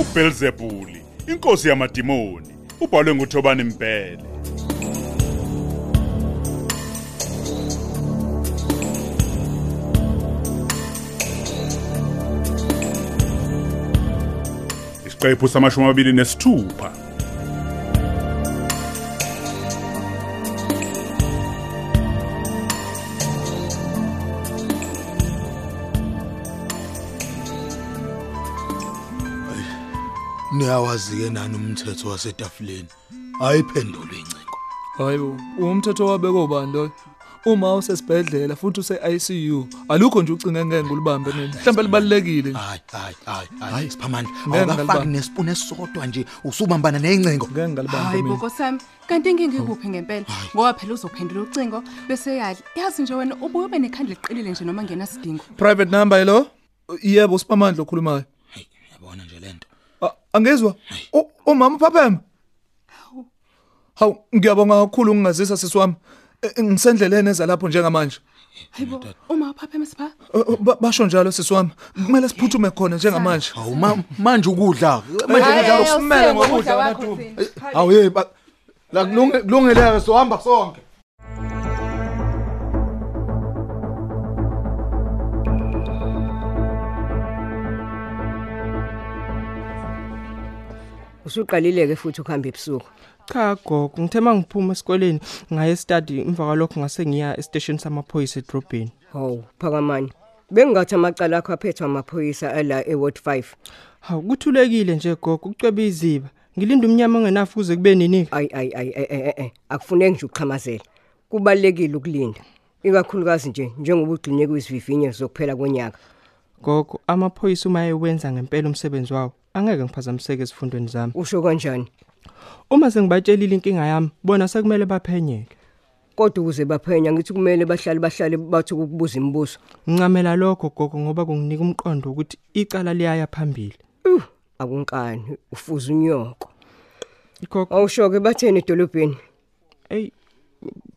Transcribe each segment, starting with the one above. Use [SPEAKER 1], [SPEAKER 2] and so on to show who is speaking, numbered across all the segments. [SPEAKER 1] uBelzebuli, inkosi yamadimoni, ubhalwe nguThobani Mpele. isiqephu samashumi amabili nesithupha
[SPEAKER 2] niyawazi-ke nani umthetho wasetafuleni ayiphendulwe incingo
[SPEAKER 3] hayi bo umthetho wabekwa ubani loyo uma usesibhedlela futhi use-icu alukho nje ucingengenge ulibambe nini mhlawumbe libalulekile nje
[SPEAKER 2] hayi hayi hayi hayi siphamandla
[SPEAKER 3] Ngeke
[SPEAKER 2] awukafaki
[SPEAKER 3] ngalibamba.
[SPEAKER 2] nesipuni esisodwa nje usubambana ney'ncingo
[SPEAKER 3] ngeke ngalibambe
[SPEAKER 4] hayi
[SPEAKER 3] mina
[SPEAKER 4] boko sami kanti inkinga ikuphi ngempela ngoba phela uzophendula ucingo bese yadla yazi nje wena ubuye ube nekhanda liqinile nje noma ngenasidingo
[SPEAKER 3] private number yilo yebo usipamandla okhulumayo
[SPEAKER 2] Hey, yabona nje le nto
[SPEAKER 3] A- angizwa U- umama uphaphema hawu ngiyabonga kakhulu ukungazisa sisi wami E- e, ngisendleleni ezalapho njengamanje
[SPEAKER 4] hayi bo uma uphapha emasipha
[SPEAKER 3] Eh, eh, ba- basho njalo sisi wami kumele siphuthume khona njengamanje
[SPEAKER 2] hawu ma- manje ukudla manje
[SPEAKER 3] Hayi,
[SPEAKER 2] ukudla
[SPEAKER 3] hayi, usimele ngokudla kwakho
[SPEAKER 2] hawu ye la kulunge- kulungile-ke sohamba sonke
[SPEAKER 5] usuqalile-ke futhi ukuhamba ebusuku
[SPEAKER 6] cha gogo ngithe ma ngiphuma esikoleni ngaye study emva kwalokho ngase ngiya esiteshini samaphoyisa edrobheni
[SPEAKER 5] hawu phakamani bengingathi amacala akho aphethwe amaphoyisa ala eward five
[SPEAKER 6] hawu kuthulekile nje gogo ukucwebe iziba ngilinde umnyama ongenafu kuze kube nini-ke
[SPEAKER 5] ayi ayi ayi e- e- e- e, akufuneki nje ukuqhamazela kubalulekile ukulinda ikakhulukazi nje njengoba ugxinye kwizivivinyo zokuphela konyaka
[SPEAKER 6] gogo amaphoyisa uma ewenza ngempela umsebenzi wawo angeke ngiphazamiseke ezifundweni zami
[SPEAKER 5] usho kanjani
[SPEAKER 6] uma sengibatshelile inkinga yami bona sekumele baphenyeke
[SPEAKER 5] kodwa ukuze baphenya ngithi kumele bahlale bahlale bathi ukubuza imibuzo
[SPEAKER 6] ngincamela lokho gogo ngoba kunginika umqondo ukuthi icala liyaya phambili
[SPEAKER 5] Uh, akunkani ufuza unyoko
[SPEAKER 6] gogo
[SPEAKER 5] awusho-ke batheni edolobheni
[SPEAKER 6] eyi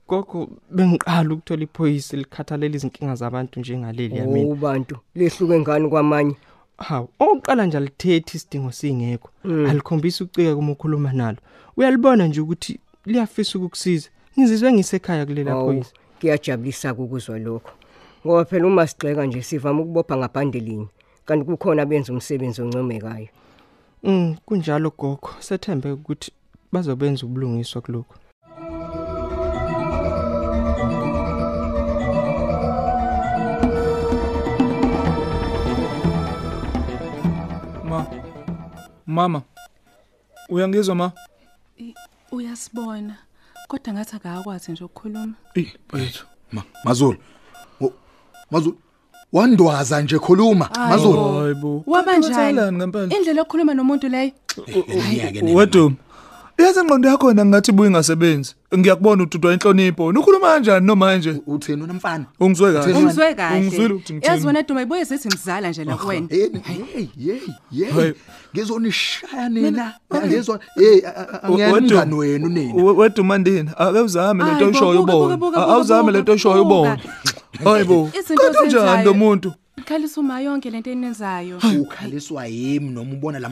[SPEAKER 6] gogo bengiqala ukuthola iphoyisa likhathalela izinkinga zabantu njengaleli yamina
[SPEAKER 5] ubantu lehluke ngani kwamanye
[SPEAKER 6] hawu oqala nje alithethi isidingo singekho alikhombisi ukucika kuma ukhuluma nalo uyalibona nje ukuthi liyafisa ukukusiza ngizizwe ngisekhaya kulela
[SPEAKER 5] Hawu,
[SPEAKER 6] phoyisa
[SPEAKER 5] kuyajabulisa-ke ukuzwa lokho ngoba phela uma sigxeka nje sivame ukubopha ngabhandelinye kanti kukhona abenza umsebenzi oncomekayo
[SPEAKER 6] mm, kunjalo gogo sethembe ukuthi bazobenza ubulungiswa kulokhu
[SPEAKER 3] ma mama uyangizwa ma
[SPEAKER 4] uyasibona kodwa ngathi akakwazi nje ukukhuluma
[SPEAKER 2] eyi bethu ma mazulu Wo- mazulu wandwaza nje khuluma mazulu
[SPEAKER 3] hayi bo
[SPEAKER 4] wabanjani
[SPEAKER 3] Uthathelani ngempela
[SPEAKER 4] indlela yokukhuluma nomuntu leyo
[SPEAKER 3] weduma yazi ingqondo yakho na ngathi ibuye ingasebenzi ngiyakubona ududwa inhlonipho wena ukhuluma kanjani nomanje
[SPEAKER 2] utheni wena mfana
[SPEAKER 3] ungizwe kahle
[SPEAKER 4] ungizwe kahle
[SPEAKER 3] ungizwile ukuthi ngithini?
[SPEAKER 4] yazi wena duma ibuye zithi ngizala nje la kuwena
[SPEAKER 2] yeni yeyi yeyi
[SPEAKER 3] Hey.
[SPEAKER 2] yeyi ngizonishaya nina ngizwa yeyi
[SPEAKER 3] Weduma.
[SPEAKER 2] ngemngani wenu nina
[SPEAKER 3] We- weduma ndini ake uzame lento
[SPEAKER 4] Hayi bo,
[SPEAKER 3] oyishoyo
[SPEAKER 4] buka, buka,
[SPEAKER 3] ubona
[SPEAKER 4] buka, buka,
[SPEAKER 3] awuzame
[SPEAKER 4] buka,
[SPEAKER 3] lento oyishoyo
[SPEAKER 4] buka.
[SPEAKER 3] ubona hayi bo
[SPEAKER 4] Izinto
[SPEAKER 3] kanti unjani
[SPEAKER 4] ozenzayo.
[SPEAKER 3] lo muntu
[SPEAKER 4] khalisa uma yonke lento eniyenzayo
[SPEAKER 2] ukhaliswa yimi noma ubona la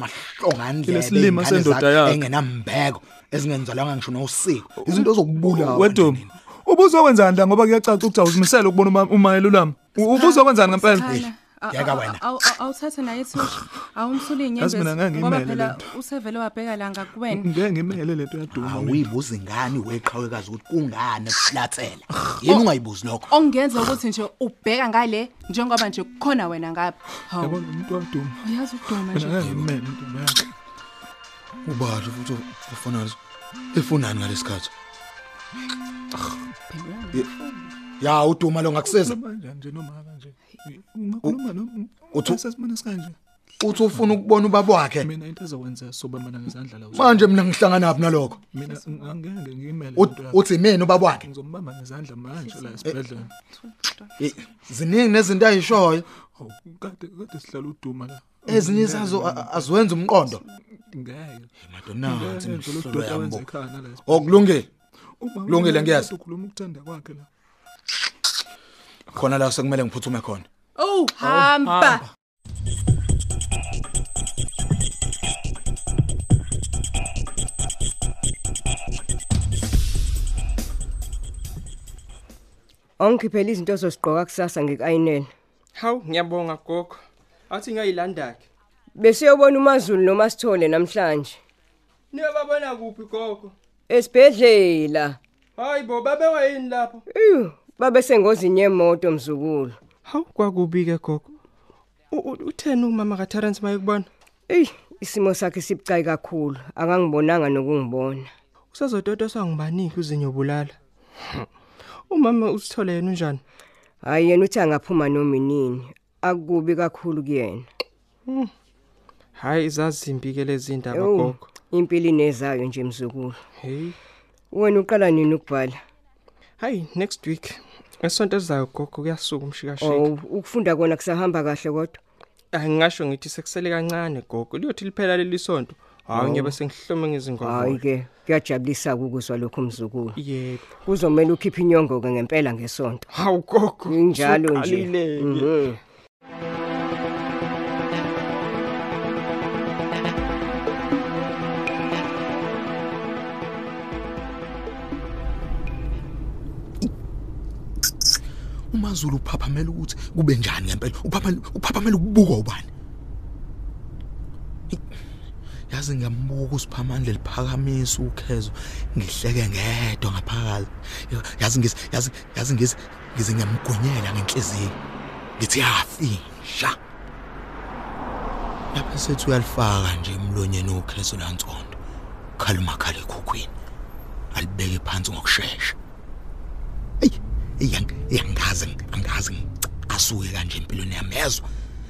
[SPEAKER 3] Lesi lima sendoda yakhe.
[SPEAKER 2] engenambeko ezingenzalwanga ngisho nosiko izinto zokubulawa
[SPEAKER 3] weduma ubuzokwenzani la ngoba kuyacaca ukuthi awuzimisele ukubona uma- umayelulama U- ubuzokwenzani ngempela
[SPEAKER 4] Sikhala. A-
[SPEAKER 2] yeka
[SPEAKER 4] a-
[SPEAKER 2] wena.
[SPEAKER 4] aw- aw- awuthathe naye ithusha awumsule
[SPEAKER 3] Yazi mina ngeke
[SPEAKER 4] inyembezi
[SPEAKER 3] ngiyimele
[SPEAKER 4] ngoba
[SPEAKER 3] le
[SPEAKER 4] phela
[SPEAKER 3] nto.
[SPEAKER 4] usevele wabheka la ngakuwena
[SPEAKER 3] ngeke ngimele lento yaduma mina.
[SPEAKER 2] awuyibuza ingane weqhawekazi ukuthi kungani kuhlathela yini ungayibuzi lokho
[SPEAKER 4] ongenza ukuthi nje ubheka ngale njengoba nje kukhona wena ngapha hawu
[SPEAKER 3] yabona umuntu waduma
[SPEAKER 4] uyazi uduma
[SPEAKER 3] mina
[SPEAKER 4] nje
[SPEAKER 3] ngeke ngimele indima yakhe
[SPEAKER 2] ubani futhi ofana leso efunani ngalesikhathi ya uduma lo ngakusiza
[SPEAKER 3] manje nje noma kanje ungakhuluma noma
[SPEAKER 2] Uthi-
[SPEAKER 3] sesimane sikanje
[SPEAKER 2] uthi ufuna ukubona ubaba wakhe
[SPEAKER 3] mina into ezokwenzeka sobe mina ngezandla la uzwa
[SPEAKER 2] manje mina ngihlanganaphi nalokho
[SPEAKER 3] mina angeke ngiyimele
[SPEAKER 2] Ut-
[SPEAKER 3] lento yakhe
[SPEAKER 2] uthi mina ubaba wakhe
[SPEAKER 3] ngizombamba ngezandla manje la esibhedlela
[SPEAKER 2] Eh, ziningi nezinto ayishoyo
[SPEAKER 3] hawu kade kade sihlala uduma la
[SPEAKER 2] ezinye isazo aziwenza umqondo
[SPEAKER 3] ngeke
[SPEAKER 2] madonati
[SPEAKER 3] Ngeke lo doda
[SPEAKER 2] tota
[SPEAKER 3] wenza ekhaya nala esibhedlela.
[SPEAKER 2] Oh, okulungile
[SPEAKER 3] Uma
[SPEAKER 2] Kulungile, ngiyazi.
[SPEAKER 3] ukhuluma ukuthanda kwakhe la
[SPEAKER 2] khona la sekumele ngiphuthume khona
[SPEAKER 4] oh hamba
[SPEAKER 5] Angikhiphela izinto ozosigqoka kusasa ngikayinene.
[SPEAKER 6] Hawu ngiyabonga gogo. Athi ngiyayilanda ke.
[SPEAKER 5] Bese uyobona uMazulu noMasithole namhlanje.
[SPEAKER 6] Niyobabona kuphi gogo?
[SPEAKER 5] Esibhedlela.
[SPEAKER 6] Hayi bo babewa yini lapho?
[SPEAKER 5] Ew, babe sengozini yemoto mzukulu.
[SPEAKER 6] Hawu kwakubi ke gogo. U- u- Utheni umama kaTerence mayekubona?
[SPEAKER 5] Ey, isimo sakhe sibucayi kakhulu, akangibonanga nokungibona.
[SPEAKER 6] Usazototoswa ngibaniki uzinyobulala. Hmm. Umama usithole yena unjani?
[SPEAKER 5] Hayi yena uthi angaphuma noma inini, akukubi kakhulu kuyena.
[SPEAKER 6] Hayi izazimbi ke lezi ndaba
[SPEAKER 5] Ewu,
[SPEAKER 6] gogo.
[SPEAKER 5] Impilo inezayo nje mzukulu.
[SPEAKER 6] Hey.
[SPEAKER 5] Wena uqala nini ukubhala?
[SPEAKER 6] Hayi next week. Esonto esizayo gogo kuyasuka umshikashika.
[SPEAKER 5] Oh, ukufunda kona kusahamba kahle kodwa.
[SPEAKER 6] Angingasho ngithi sekusele kancane gogo. Liyothi liphela leli sonto. Hayi ngiyabe sengihlome
[SPEAKER 5] Oh. Hayi
[SPEAKER 6] ngezingoma.
[SPEAKER 5] ke, kuyajabulisa ukuzwa lokho mzukulu.
[SPEAKER 6] Yebo.
[SPEAKER 5] Kuzomela ukhiphe inyongo ke ngempela ngesonto.
[SPEAKER 6] Hawu gogo.
[SPEAKER 5] Injalo nje.
[SPEAKER 6] usuqalile-ke.
[SPEAKER 5] Mhm.
[SPEAKER 2] umazulu uphaphamela ukuthi kube njani ngempela uphaphamela uphaphamela ukubuka ubani Eyi, yazi ngiyambuka usiphamandla liphakamisa ukhezo ngihleke ngedwa ngaphakathi Ya- yazi ngizi yazi yazi ngizi ngize ngiyamgonyela ngenhliziyo ngithi yafisha lapha sethu uyalifaka nje emlonyeni ukhezo lantsondo khala umakhala ekhukhwini alibeke phansi ngokusheshsha eyi eyi, eyi, angazi angazi asuke kanje empilweni yami yezwa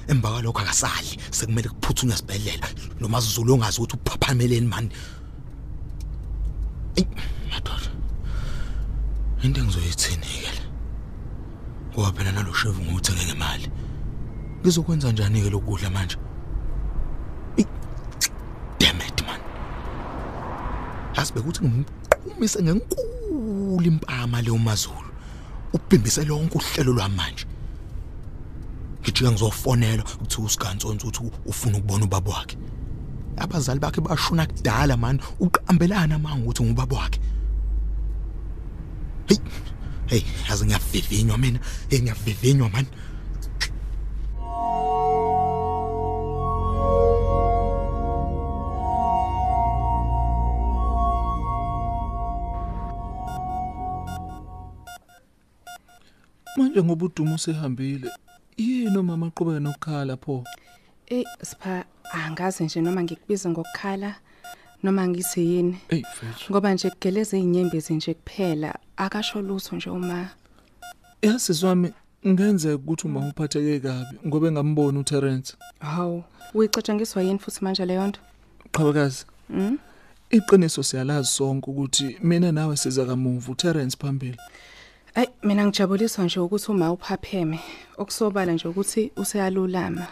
[SPEAKER 2] emva kwalokho akasadli sekumele kuphuthunywe sibhedlela lo mazulu ongazi ukuthi uphaphameleni mani eyi madoda into engizoyithini-ke le ngoba phela nalo shevu ngiwuthenge ngemali ngizokwenza njani-ke lokudla manje Eyi, demet mani asibekuthi ngimqumise ngenkulu impama leyo mazulu ubhimbise lonke uhlelo lwamanje ngijika ngizofonela ukuthi usigantsonsi ukuthi ufuna ukubona ubaba wakhe abazali bakhe bashona kudala mani uqambelana manje ukuthi ngubaba wakhe hey hey yazi ngiyavivinywa mina hey ngiyavivinywa mani
[SPEAKER 3] manje ngoba uDuma usehambile yini umama aqhubeka nokukhala pho
[SPEAKER 4] Ey, sipha angazi nje noma ngikubiza ngokukhala noma ngithi yini.
[SPEAKER 3] eyi fethu
[SPEAKER 4] Ngoba nje kugeleza izinyembezi nje kuphela, akasho lutho nje uma.
[SPEAKER 3] yasizwami ngenzeka ukuthi umama uphatheke kabi ngoba engamboni uTerence
[SPEAKER 4] Hawu, uyicatshangiswa yini futhi manje leyo nto?
[SPEAKER 3] qhabakazi iqiniso siyalazi sonke ukuthi mina nawe siza kamuva uTerence phambili
[SPEAKER 4] Ay, mina ngijabuliswa nje ukuthi uma uphapheme, okusobala nje ukuthi useyalulama.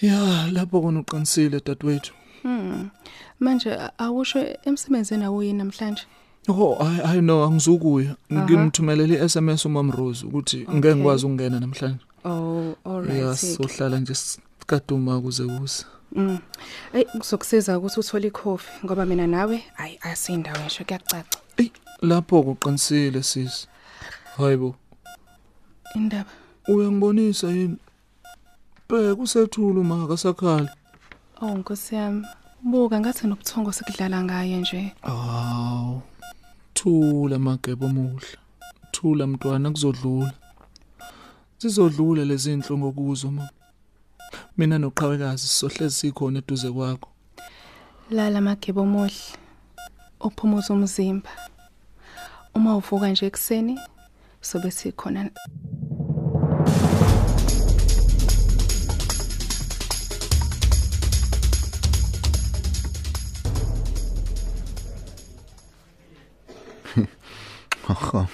[SPEAKER 3] ya lapho kona uqinisile dadwethu
[SPEAKER 4] Hmm. Manje a- awusho emsebenzini awuyini namhlanje?
[SPEAKER 3] Oh ay ay no angizukuya ngimthumelele iSMS umam Rose ukuthi ngeke ngikwazi ukungena namhlanje
[SPEAKER 4] Oh, alright.
[SPEAKER 3] yasohlala nje sikaduma kuze kusa
[SPEAKER 4] Mm. Ey, kuzokusiza ukuthi uthole ikhofi ngoba mina nawe ayi asindawo ngisho kuyacaca.
[SPEAKER 3] ey lapho kuqinisile sisi hayibo
[SPEAKER 4] Indaba.
[SPEAKER 3] uyangibonisa yini bheka usethula uma akasakhala
[SPEAKER 4] Oh Nkosi yami, buka ngathi nobuthongo sekudlala ngaye nje.
[SPEAKER 3] aw thula magebo omuhle thula mntwana kuzodlula sizodlula lezi inhlungu kuzo mama mina noqhawekazi sisohlezi sikhona eduze kwakho
[SPEAKER 4] Lala magebo omuhle. Uphumuza umzimba. Uma uvuka nje ekseni sobe sikhona.
[SPEAKER 7] Aha.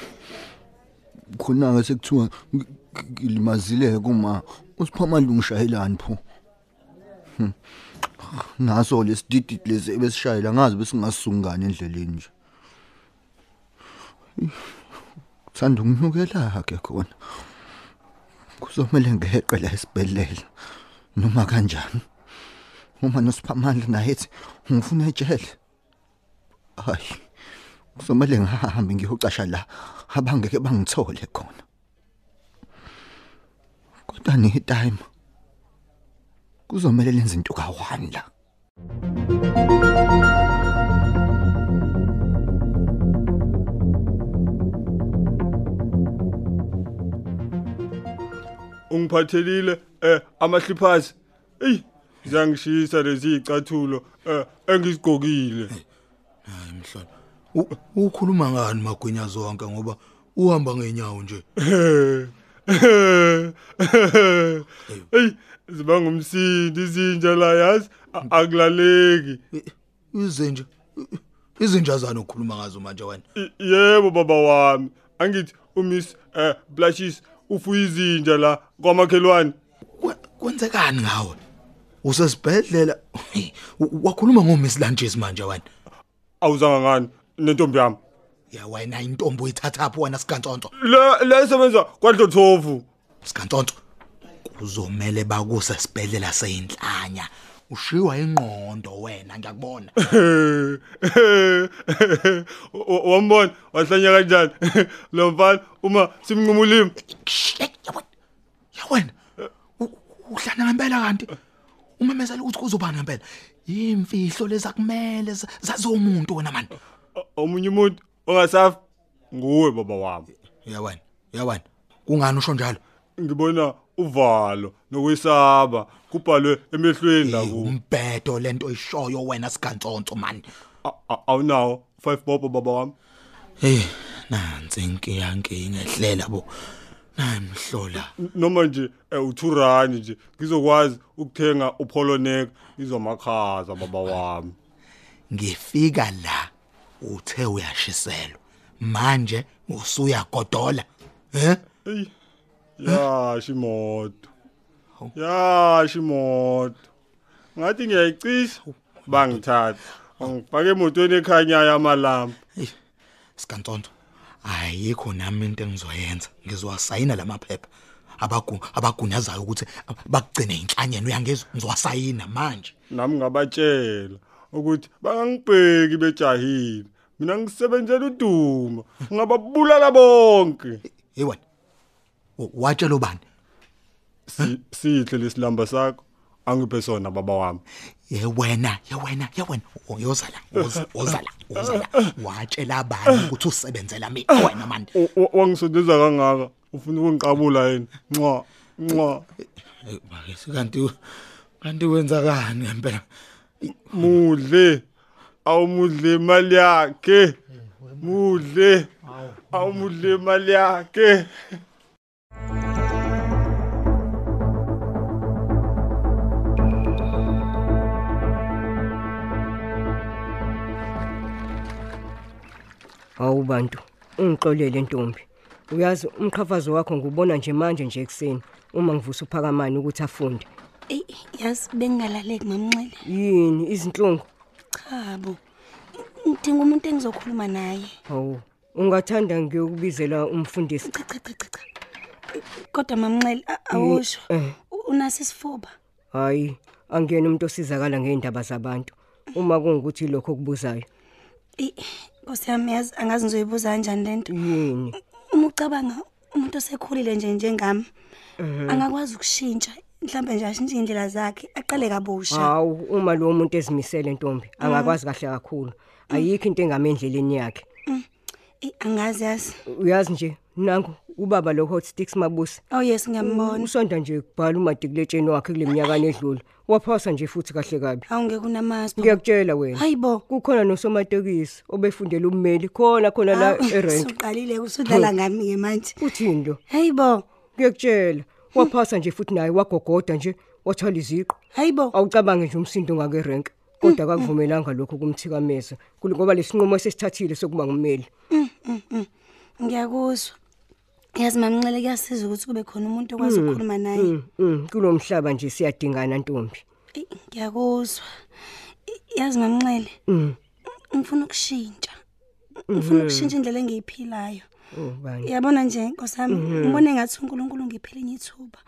[SPEAKER 7] Khona ke sekuthiwa ngi- ngilimazile kuma usiphamandla ungishayelani pho. Hmm. Naso lesidididi lezi ebesishayela ngazi bese ngasungana endleleni nje. Thanda ukunukela ke khona. Kuzomela ngeqe la esibedlela noma kanjani. Uma nosiphamandla nayethi ngifuna etshele. Hayi. kuzomele ngihambe ngiyocasha la abangeke bangithole khona kodwa ni time kuzomele lenze into ka1 la
[SPEAKER 8] ungiphathelile eh amahliphasi ey ziyangishisa lezi icathulo eh engisigqokile
[SPEAKER 2] hayi mhlolo U- ukhuluma ngani magwinya zonke ngoba uhamba ngeenyawo nje
[SPEAKER 8] ey ziba ngumsindi izinja la yazi a- akulaleki
[SPEAKER 2] izinja izinja zani okhuluma ngazo manje wena
[SPEAKER 8] I- yebo baba wami angithi umiss eh blushes ufuya izinja la kwamakhelwane
[SPEAKER 2] Kwe- kwenzekani ngawe usesibhedlela U- wakhuluma ngomiss lunches manje wena
[SPEAKER 8] awuzanga ngani nentombi yami
[SPEAKER 2] ya wena intombi uyithatha apho wena sikantsonto
[SPEAKER 8] le lesebenza kwadlothofu
[SPEAKER 2] sikantsonto kuzomele bakuse sibhedlela seyinhlanya ushiwa ingqondo wena ngiyakubona
[SPEAKER 8] Wa- wambona wahlanya kanjani lo mfana uma simnqumulimi
[SPEAKER 2] Shh, hey, ya wena ya wena U- uhlana ngempela kanti umemezela ukuthi kuzobani ngempela imfihlo leza kumele zazomuntu wena mani
[SPEAKER 8] omunye umuntu ongasafi nguwe baba wami
[SPEAKER 2] ya wena ya wena kungani usho njalo
[SPEAKER 8] ngibona uvalo nokwesaba kubhalwe emehlweni la ku
[SPEAKER 2] umbhedo lento ishoyo wena sigantsonto mani
[SPEAKER 8] awunawo 5 bobo baba wami
[SPEAKER 2] hey nansi inkinga inkinga ehlela bo nayi mhlola
[SPEAKER 8] N- noma nje eh, u2 rand nje ngizokwazi ukuthenga upoloneka izomakhaza baba wami
[SPEAKER 2] ngifika la uthe uyashiselwa manje usuya godola eh
[SPEAKER 8] Ey. Yashi imoto. Yashi imoto. Ngathi ngiyayicisha bangithatha. Ngifake emotweni ekhanyayo amalamba.
[SPEAKER 2] sikantsonto ayikho nami into engizoyenza ngizowasayina lamaphepha abagu abagunyazayo ukuthi bakugcine inhlanyeni uyangizwa ngizowasayina manje
[SPEAKER 8] Nami ngabatshela ukuthi bangangibheki bejahile. Mina ngisebenzela uDuma. Ngababulala bonke.
[SPEAKER 2] hey wena u- watshela ubani
[SPEAKER 8] Si- Sihle lesilamba sakho. Angiphe sona baba wami.
[SPEAKER 2] ye wena ye wena ye wena uyozala oza- ozala ozala watshela abani ukuthi usebenzela mina wena manje
[SPEAKER 8] O- o- Wangisondeza kangaka ufuna ukungiqabula yini? Nqa nqa
[SPEAKER 2] Eyi, make sikanti u- kanti wenzakani ngempela
[SPEAKER 8] mudle awumudle imali yakhe mudle awumudle imali yakhe
[SPEAKER 5] Hawu bantu, ungixolele ntombi. Uyazi umqhafazo wakho ngubona nje manje nje ekseni uma ngivusa uphakamani ukuthi afunde.
[SPEAKER 9] Ey, yazi bengalaleki mamnxele.
[SPEAKER 5] Yini izinhlungu?
[SPEAKER 9] Cha bo. Ngidinga umuntu engizokhuluma naye.
[SPEAKER 5] Hawu, ungathanda ngiyokubizela umfundisi.
[SPEAKER 9] Cha cha cha cha, cha. Kodwa mamnxele a- awusho.
[SPEAKER 5] eh.
[SPEAKER 9] u- Unaso isifuba.
[SPEAKER 5] Hayi, angiyena umuntu osizakala ngeendaba zabantu. Uma kungukuthi lokho kubuzayo.
[SPEAKER 9] Ey, Nkosi yami yazi angazi ngizoyibuza kanjani lento.
[SPEAKER 5] Yini?
[SPEAKER 9] Uma ucabanga umuntu osekhulile nje njengami angakwazi ukushintsha mhlambe nje ashintshe indlela zakhe aqale kabusha.
[SPEAKER 5] Hawu, uma lo muntu ezimisele ntombi, angakwazi kahle kakhulu. Ayikho into engamendleleni yakhe.
[SPEAKER 9] Ey, Mm. Eh, angazi yazi.
[SPEAKER 5] Uyazi nje, nangu ubaba lo hot sticks mabusi.
[SPEAKER 9] Oh yes ngiyambona.
[SPEAKER 5] Usonda nje kubhala umatikuletsheni wakhe kuleminyaka nedlule. Waphosa nje futhi kahle kabi.
[SPEAKER 9] Awungeke unamasipho.
[SPEAKER 5] Ngiyakutshela wena.
[SPEAKER 9] Hayibo.
[SPEAKER 5] Kukhona nosomatekisi obefundela ummeli khona khona la Hmm. eRent.
[SPEAKER 9] Ah, Usuqalile usudlala ngami ke manje.
[SPEAKER 5] Uthini lo?
[SPEAKER 9] Hayibo.
[SPEAKER 5] Ngiyakutshela. Waphosa nje futhi naye wagogoda nje wathwala iziqo.
[SPEAKER 9] Hayibo.
[SPEAKER 5] Awucabange nje umsindo ngake rank. Kodwa
[SPEAKER 9] Mm,
[SPEAKER 5] akavumelanga lokho kumthikameza. Kule ngoba lesinqumo sesithathile sokuba ngummeli.
[SPEAKER 9] Mm, Ngiyakuzwa. Yazi mamnxele kuyasiza ukuthi kube khona umuntu okwazi
[SPEAKER 5] Hmm.
[SPEAKER 9] ukukhuluma naye.
[SPEAKER 5] Mhm, kulomhlaba nje siyadingana ntombi.
[SPEAKER 9] Eyi, Ngiyakuzwa. I- Yazi mamnxele.
[SPEAKER 5] Mm.
[SPEAKER 9] Ngifuna ukushintsha.
[SPEAKER 5] Mhm.
[SPEAKER 9] Ngifuna ukushintsha indlela engiyiphilayo.
[SPEAKER 5] Ubani?
[SPEAKER 9] Yabona nje nkosami,
[SPEAKER 5] Mhm.
[SPEAKER 9] ngibone ngathi uNkulunkulu ngiphile ngithuba.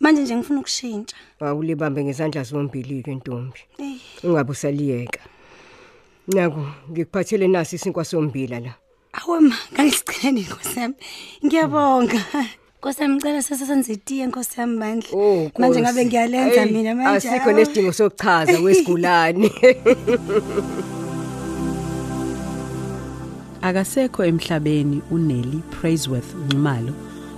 [SPEAKER 9] Manje nje ngifuna ukushintsha.
[SPEAKER 5] Awulibambe ngezandla zombili ke ntombi.
[SPEAKER 9] Ey,
[SPEAKER 5] Ungabe usaliyeka. Naku ngikuphathele nasi isinkwa sombila la.
[SPEAKER 9] Awu ma, ngangisigcine inkosi yami. Ngiyabonga. Nkosi yami ngicela sesenze itiye nkosi yami bandla.
[SPEAKER 5] Oh, Nkosi.
[SPEAKER 9] Manje ngabe ngiyalenza
[SPEAKER 5] Eyi,
[SPEAKER 9] mina manje.
[SPEAKER 5] Asikho
[SPEAKER 9] awu.
[SPEAKER 5] Ah, nesidingo sokuchaza wesigulane.
[SPEAKER 10] Akasekho emhlabeni uNelly Praiseworth Nxumalo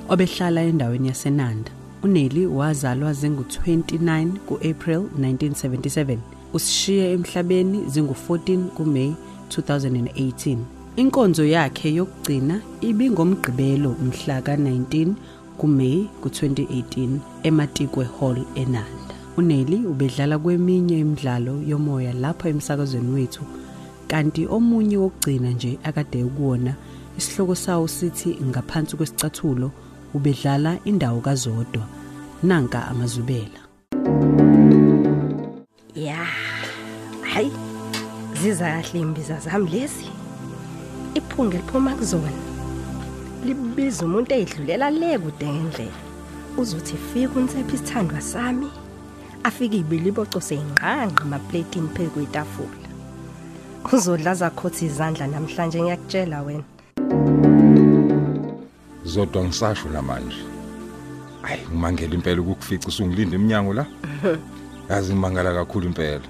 [SPEAKER 10] obehlala endaweni yaseNanda. uNelly wazalwa zingu-29 ku-April 1977 usishiye emhlabeni zingu-14 kuMay 2018. Inkonzo yakhe yokugcina ibingomgqibelo mhla ka-19 kuMay ku-2018 eMatikwe Hall eNanda. uNelly ubedlala kweminye imidlalo yomoya lapha emsakazweni wethu kanti omunye wokugcina nje akade ukuwona isihloko sawo sithi ngaphansi kwesicathulo ubedlala indawo kazodwa nanka amazubela
[SPEAKER 11] Ya. Hayi. Ziza kahle imbiza zami lezi. Iphunga liphuma kuzona. Libiza umuntu eyidlulela le kude ngendlela. Uzothi fika unsephi isithandwa sami. Afike ibiliboco seyinqanqa amapletini phezu kwetafula. Uzodlaza khotha izandla namhlanje ngiyakutshela wena.
[SPEAKER 12] Zodwa ngisasho la manje. Hayi ngimangela impela ukukufica usungilinda eminyango la. Yazi ngimangala kakhulu impela.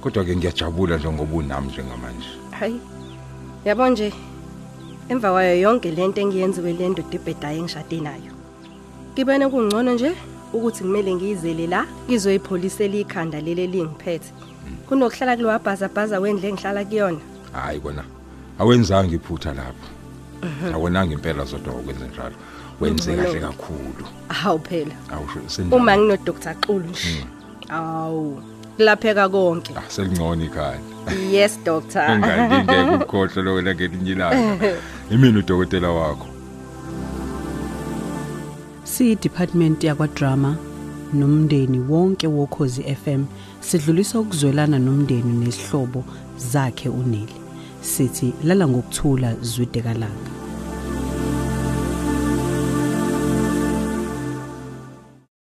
[SPEAKER 12] Kodwa ke ngiyajabula nje ngoba unami njengamanje.
[SPEAKER 11] Hayi. Yabo nje emva kwayo yonke lento engiyenziwe le ndoda ebhedayo engishade nayo. Kibene kungcono nje ukuthi kumele ngiyizele la ngizoyipholisa elikhanda lele lingiphethe. Kunokuhlala kulowa bhazabhaza wendle engihlala kuyona.
[SPEAKER 12] Hayi kona. Awenzanga iphutha lapho. Awonanga impela zodwa ukwenza njalo. Wenze
[SPEAKER 11] Mhm.
[SPEAKER 12] kahle kakhulu.
[SPEAKER 11] Awu phela.
[SPEAKER 12] Awusho senjalo. Hmm.
[SPEAKER 11] Uma ngino Dr Xulu nje. Awu. Kulapheka konke.
[SPEAKER 12] Selingcono Ah, ikhaya.
[SPEAKER 11] Yes doctor.
[SPEAKER 12] Ungangeke ukukhohle lo wena ngelinye ilanga. Imini udokotela wakho.
[SPEAKER 10] siyidepartment yakwadrama nomndeni wonke wokhozi FM sidlulisa ukuzwelana nomndeni nesihlobo zakhe uNeli sithi lala ngokuthula zwidekalanga